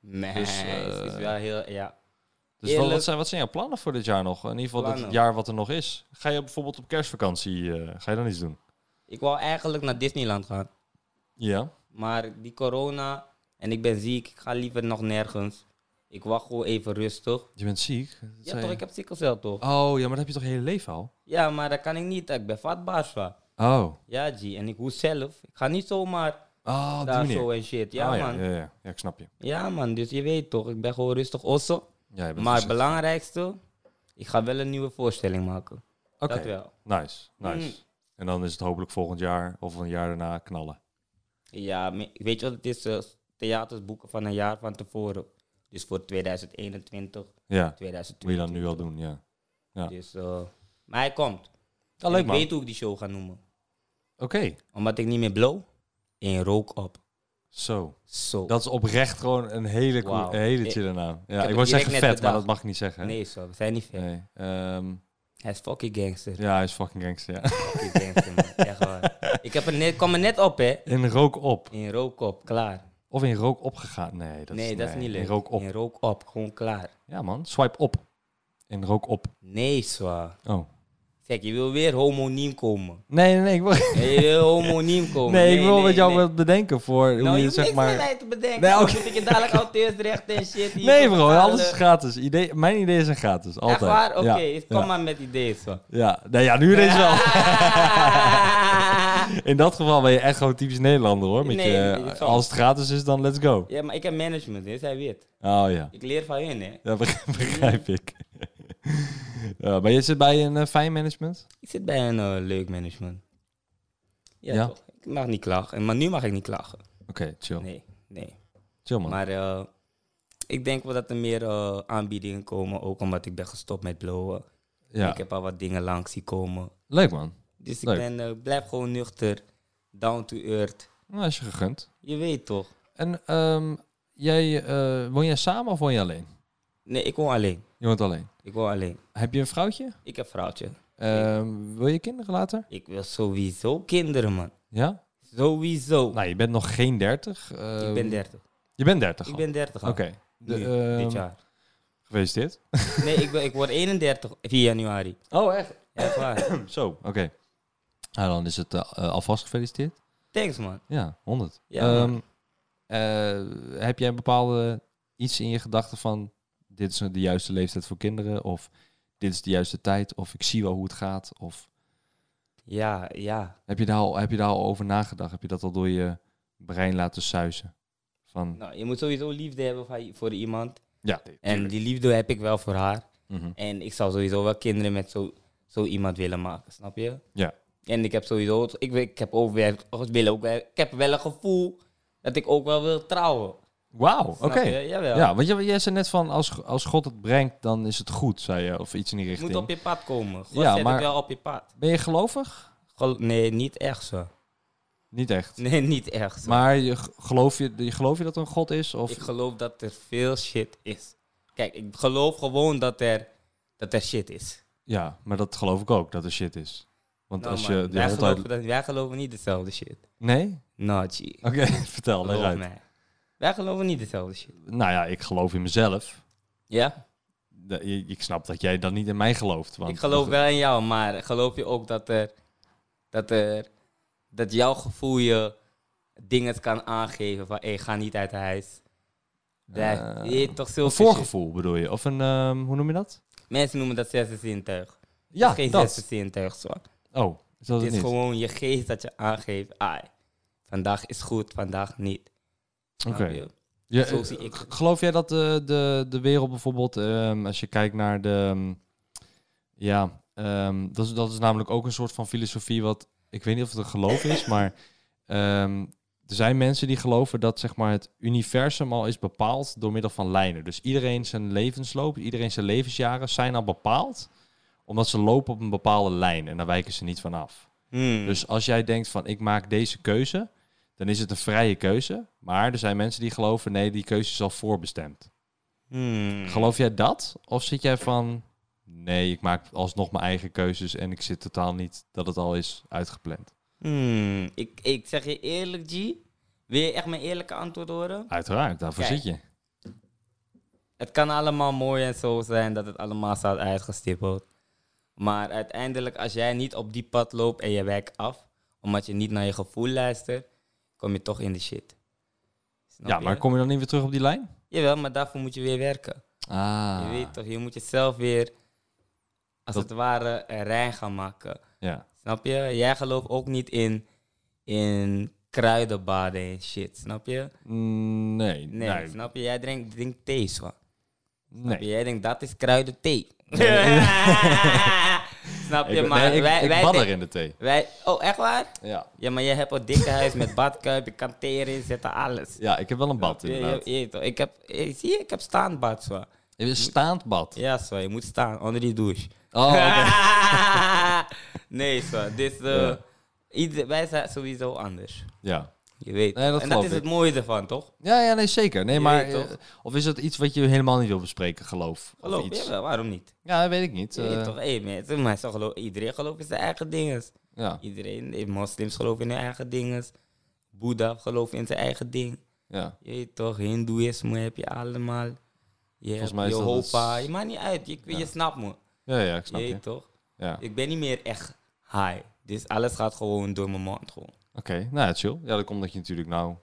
Nee, Dus, het is eh, wel heel... Ja. Dus wat, Eerlijk- wat, zijn, wat zijn jouw plannen voor dit jaar nog? In ieder geval dit Plannen? jaar wat er nog is. Ga je bijvoorbeeld op kerstvakantie, eh, ga je dan iets doen? Ik wou eigenlijk naar Disneyland gaan. Ja. Maar die corona en ik ben ziek. Ik ga liever nog nergens. Ik wacht gewoon even rustig. Je bent ziek? Dat Ja zei toch, je. ik heb sikkelcel toch? Oh, ja, maar dat heb je toch je hele leven al? Ja, maar dat kan ik niet. Ik ben vatbaar van. Oh. Ja, G. En ik hoe zelf. Ik ga niet zomaar Oh, op die daar manier. zo en shit. Ja, Oh, man. Ja, Ja. ja, ja. Ja, ik snap je. man. Dus je weet toch, ik ben gewoon rustig osso. Ja, je bent Maar het voorzichtig. belangrijkste, ik ga wel een nieuwe voorstelling maken. Oké, Dat wel. Mm. nice, nice. En dan is het hopelijk volgend jaar of een jaar daarna knallen. Ja, me- weet je wat het is? eh, theaters boeken van een jaar van tevoren. Dus voor 2021, Ja, moet je 2020. dan nu al doen, ja. ja. Dus, eh, maar hij Oh, komt. En leuk ik man. weet Oké, hoe ik die show ga noemen. Omdat ik niet meer blow en rook op. zo. Zo. Dat is oprecht gewoon een hele, cool, Wauw. een hele Ik- chille naam. Ja, heb ik, het wou direct zeggen net vet, maar bedacht. dat mag ik niet zeggen. Nee, zo. We zijn niet ver. Nee, ehm, Hij is fucking gangster. ja, hij is fucking gangster, ja. Fucking gangster, man. Echt waar. Ik heb er net, kwam er net op, hè. In rook op. In rook op, klaar. Of in rook opgegaan. Nee, dat, nee, is, dat is niet leuk. In rook op. In rook op, gewoon klaar. Ja, man. Swipe op. In rook op. Nee, zwaar. Oh. Kijk, je wil weer homoniem komen. Nee, nee, nee. Ik wil, Nee, je wil homoniem komen. nee, ik wil met jou Oh, nee. wat bedenken voor Nou, hoe je je, hoeft zeg niks maar... met mij te bedenken. Nee, Nee, oké. moet ik je dadelijk auteursrechten en shit hier Nee, voor bro. betalen. Alles is gratis. Idee, mijn ideeën zijn gratis. Altijd. Echt waar? Oké, dus Ja, kom ja, maar met ideeën, zo. ja. Nee, ja, nu ineens wel. In dat geval ben je echt gewoon typisch Nederlander, hoor. Met Nee, je, nee, dat zal. als het gratis is, dan let's go. ja, maar ik heb management, hè. Zij weet. Oh, ja. Ik leer van hun, hè. Dat begrijp, begrijp ik. Ja, maar je zit bij een eh, fijn management? Ik zit bij een eh, leuk management. Ja, Ja? toch? Ik mag niet klagen. Maar nu mag ik niet klagen. Oké, chill. Nee, nee. Chill, man. Maar eh, ik denk wel dat er meer eh, aanbiedingen komen. Ook omdat ik ben gestopt met blowen. ja. Ik heb al wat dingen langs zien komen. Leuk, man. Dus ik Leuk. ben, eh, blijf gewoon nuchter. Down to earth. Nou, als je gegund. Je weet toch? En ehm, jij, eh, woon jij samen of woon je alleen? Nee, ik woon alleen. Je woont alleen. Ik woon alleen. Heb je een vrouwtje? Ik heb vrouwtje. Ehm, wil je kinderen later? Ik wil sowieso kinderen, man. Ja? Sowieso. Nou, je bent nog geen 30. ik ehm, ben 30. Je bent 30 Ik al? ben 30 al. Oké. De, Nu, ehm, dit jaar. Gefeliciteerd. Nee, ik, ben, ik word 31 4 januari. Oh, echt? Echt waar. Zo, oké. Nou, dan is het eh, eh, alvast gefeliciteerd. Thanks, man. Ja, 100. Ja, Ehm, eh, heb jij een bepaalde iets in je gedachten van dit is de juiste leeftijd voor kinderen of dit is de juiste tijd of ik zie wel hoe het gaat of Ja, ja. heb je daar al, heb je daar al over nagedacht? Heb je dat al door je brein laten suizen? Van Nou, je moet sowieso liefde hebben van- voor iemand. ja, En die liefde heb ik wel voor haar. Mhm. En ik zou sowieso wel kinderen met zo, zo iemand willen maken, snap je? Ja. En ik heb sowieso, ik, wil- ik heb ook weer, ik wil ook weer, ik heb wel een gevoel dat ik ook wel wil trouwen. Wauw, oké. je? Jawel. Ja, want jij, jij zei net van, als, als God het brengt, dan is het goed, zei je. Of iets in die Het moet richting. op je pad komen. God Ja, zet maar- het wel op je pad. Ben je gelovig? Gel- nee, niet echt zo. Niet echt. Nee, niet echt zo. Maar je, g- geloof je, je geloof je dat er een God is? Of... Ik geloof dat er veel shit is. Kijk, ik geloof gewoon dat er, dat er shit is. Ja, maar dat geloof ik ook, dat er shit is. Want Nou, als man, je de wij, hond geloven uit... dat, wij geloven niet dezelfde shit. Nee? Nou, gee. Oké, vertel. leg Geloof uit. mij. Wij geloven niet dezelfde shit. Nou ja, ik geloof in mezelf. Ja? De- je- Ik snap dat jij dan niet in mij gelooft. Want ik geloof wel in jou, maar geloof je ook dat er... Dat er... Dat jouw gevoel je dingen kan aangeven van... Hé, hey, ga niet uit huis. Ja, Eh, je hebt toch Een zulke shit. voorgevoel bedoel je? Of een, ehm, hoe noem je dat? Mensen noemen dat zesde zintuig. Het Ja, is geen dat. zesde zintuig, zo. Oh, is dat Het het is niet? gewoon je geest dat je aangeeft. Ai, vandaag is goed, vandaag niet. Snap Oké. je? Ja, Zo eh, zie ik g- het. Geloof jij dat de, de, de wereld bijvoorbeeld, ehm, als je kijkt naar de. ehm, ja, ehm, dat, is, dat is namelijk ook een soort van filosofie, wat ik weet niet of het een geloof is, maar ehm, er zijn mensen die geloven dat zeg maar, het universum al is bepaald door middel van lijnen. Dus iedereen zijn levensloop, iedereen zijn levensjaren zijn al bepaald, omdat ze lopen op een bepaalde lijn en daar wijken ze niet van af. Hmm. Dus als jij denkt van ik maak deze keuze, dan is het een vrije keuze. Maar er zijn mensen die geloven nee, die keuze is al voorbestemd. Hmm. Geloof jij dat? Of zit jij van nee, ik maak alsnog mijn eigen keuzes en ik zit totaal niet dat het al is uitgepland? Hmm. Ik, ik zeg je eerlijk, G. Wil je echt mijn eerlijke antwoord horen? Uiteraard, daarvoor Kijk. zit je. Het kan allemaal mooi en zo zijn dat het allemaal staat uitgestippeld. Maar uiteindelijk, als jij niet op die pad loopt en je wijkt af, omdat je niet naar je gevoel luistert, kom je toch in de shit. Snap Ja, je? maar kom je dan niet weer terug op die lijn? Jawel, maar daarvoor moet je weer werken. Je Ah, weet toch, je moet jezelf weer, als Dat- het ware, er rein gaan maken. ja. Snap je? Jij gelooft ook niet in, in kruidenbaden en shit, snap je? Mm, Nee, Nee, nee, nee. snap je? Jij drinkt, drinkt thee, zo. nee. Jij denkt, dat is kruidenthee. snap je? Ik, maar nee, ik, wij, ik wij, bad denk- er in de thee. wij... Oh, echt waar? Ja. Ja, maar jij hebt een dikke huis met badkuip, je kan thee erin zetten, alles. ja, ik heb wel een bad Snap je? inderdaad. Je- je- toch, ik heb, eh, zie je, ik heb staanbad, zo. Een staand bad. Ja, zo, je moet staan onder die douche. Oh, oké. nee, zo. Dus, eh, Ja. ieder- wij zijn sowieso anders. Ja. Je weet. Nee, dat en dat geloof is ik. het mooie ervan, toch? Ja, ja, nee, zeker. Nee, Je maar, weet toch? eh, of is dat iets wat je helemaal niet wil bespreken, geloof? Geloof of iets? jawel, waarom niet? Ja, dat weet ik niet. Je weet eh, toch, hey, mensen, maar zo geloof, iedereen gelooft in zijn eigen dingen. ja, Iedereen, de moslims geloven in hun eigen dingen. Boeddha gelooft in zijn eigen ding. ja. Je weet toch, hindoeïsme heb je allemaal. Je hebt mij is dat Jehovah, het- je maakt niet uit. Je, je snapt me. Ja, ja, ik Je snap je. weet Oké, toch? Ja. Ik ben niet meer echt high. Dus alles gaat gewoon door mijn mond. Gewoon. nou ja, chill. Ja, dat komt dat je natuurlijk nou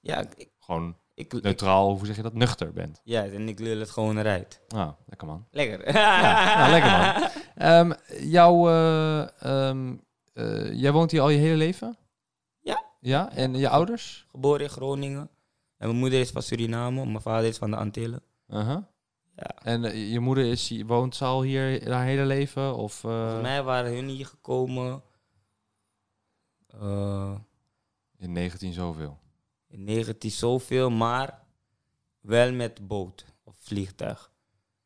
Ja, ik, ik, gewoon ik- neutraal, hoe zeg je dat, nuchter bent. ja, en ik lul het gewoon eruit. Nou, lekker man. Lekker. Ja, nou, lekker man. Ehm, jouw, eh, ehm, eh, jij woont hier al je hele leven? Ja. Ja, en je ouders? Geboren in Groningen. En mijn moeder is van Suriname, mijn vader is van de Antillen. Uh-huh. Ja. En eh, je moeder is, die woont ze al hier haar hele leven? Of, eh, Volgens mij waren hun hier gekomen eh, In 19 zoveel. in 19 zoveel, maar wel met boot of vliegtuig.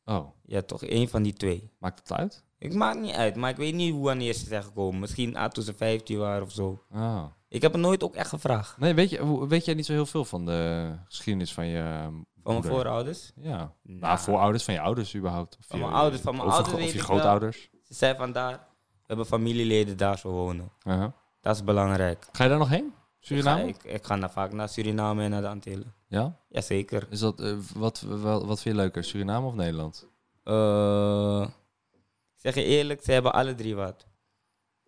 Oh, Ja, toch één van die twee. maakt het uit? Ik maak niet uit, maar ik weet niet hoe wanneer ze zijn gekomen. Misschien ah, toen ze 15 waren of zo. Oh. Ik heb het nooit ook echt gevraagd. Nee, weet, je, hoe- weet jij niet zo heel veel van de geschiedenis van je Van mijn moeder? voorouders. Ja. Nou. Nou, voorouders van je ouders überhaupt. Of Van je- mijn ouders, van mijn overgro- ouders Of je weet ik wel. grootouders. Ze zijn vandaar. We hebben familieleden daar zo wonen. Uh-huh. Dat is belangrijk. Ga je daar nog heen? Suriname? Ik ga, ik, ik ga naar, vaak naar Suriname en naar de Antillen. Ja? Jazeker. Is dat, eh, wat, wat, wat vind je leuker, Suriname of Nederland? Eh, ik zeg je eerlijk, ze hebben alle drie wat.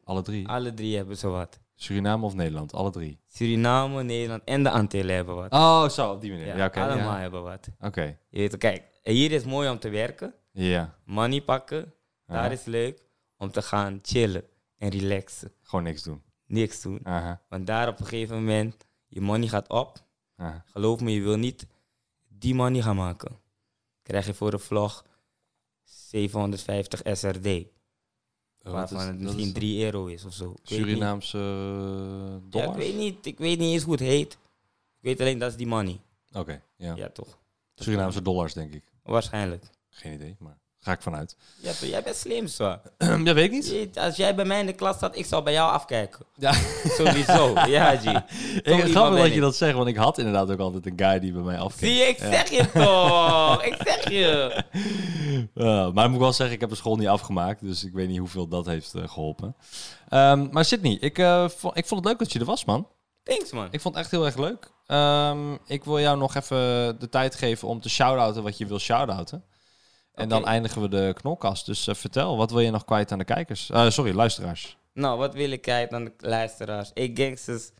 Alle drie. Alle drie hebben ze wat. Suriname of Nederland? Alle drie. Suriname, Nederland en de Antillen hebben wat. Oh, zo, op die manier. Ja, oké. allemaal ja. hebben wat. Oké. Je weet, kijk, hier is mooi om te werken, Ja. money pakken. Daar Aha. is leuk om te gaan chillen en relaxen. Gewoon niks doen. Uh-huh, Niks doen. Aha. Want daar op een gegeven moment, je money gaat op. Aha. Geloof me, je wil niet die money gaan maken. Krijg je voor een vlog 750 SRD. Oh, dat waarvan is- het dat misschien is 3 euro is of zo. Ik weet niet. Surinaamse eh, Ja, ik dollar? weet niet. Ik weet niet eens hoe het heet. Ik weet alleen dat is die money. Oké, ja. Ja, toch? Surinaamse dollars, denk ik. Waarschijnlijk. Geen idee, maar ga ik vanuit. Ja, toch, jij bent slim, zo. dat weet ik niet. Jeet, Als jij bij mij in de klas staat, ik zal bij jou afkijken. Ja. Sowieso. Ja, G. Zo Ik, iemand grappig ben dat ik. je dat zegt, want ik had inderdaad ook altijd een guy die bij mij afkeek. Zie je, ik zeg je toch. Ik zeg je. Eh, maar ik moet wel zeggen, ik heb de school niet afgemaakt. Dus ik weet niet hoeveel dat heeft eh, geholpen. Ehm, maar Sydney, ik, eh, vo- ik vond het leuk dat je er was, man. Thanks, man. Ik vond het echt heel erg leuk. Ehm, ik wil jou nog even de tijd geven om te shout-outen wat je wil shout-outen. En Oké. dan eindigen we de knolkast. Dus eh, vertel, wat wil je nog kwijt aan de kijkers? Eh, sorry, luisteraars. Nou, wat wil ik kijken aan de luisteraars? Hey, gangsters.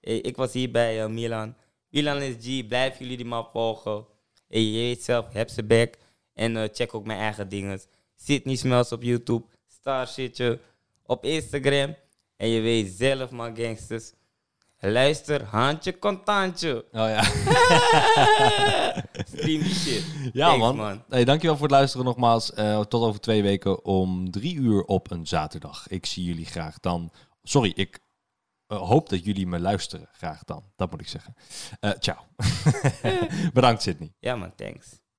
Hey, ik was hier bij eh, Milan. Milan is G. Blijf jullie die man volgen. Hey, je weet zelf, heb ze back. En eh, check ook mijn eigen dingen. Sydney Smells op YouTube. Star shitje op Instagram. En je weet zelf, man, gangsters. Luister, handje contantje. Oh ja. Stream die shit. Ja, Thanks, man. Hey, dankjewel voor het luisteren nogmaals. Eh, tot over twee weken om drie uur op een zaterdag. Ik zie jullie graag dan. Sorry, ik eh, hoop dat jullie me luisteren graag dan. Dat moet ik zeggen. Eh, ciao. Bedankt, Sydney. Ja, man, thanks.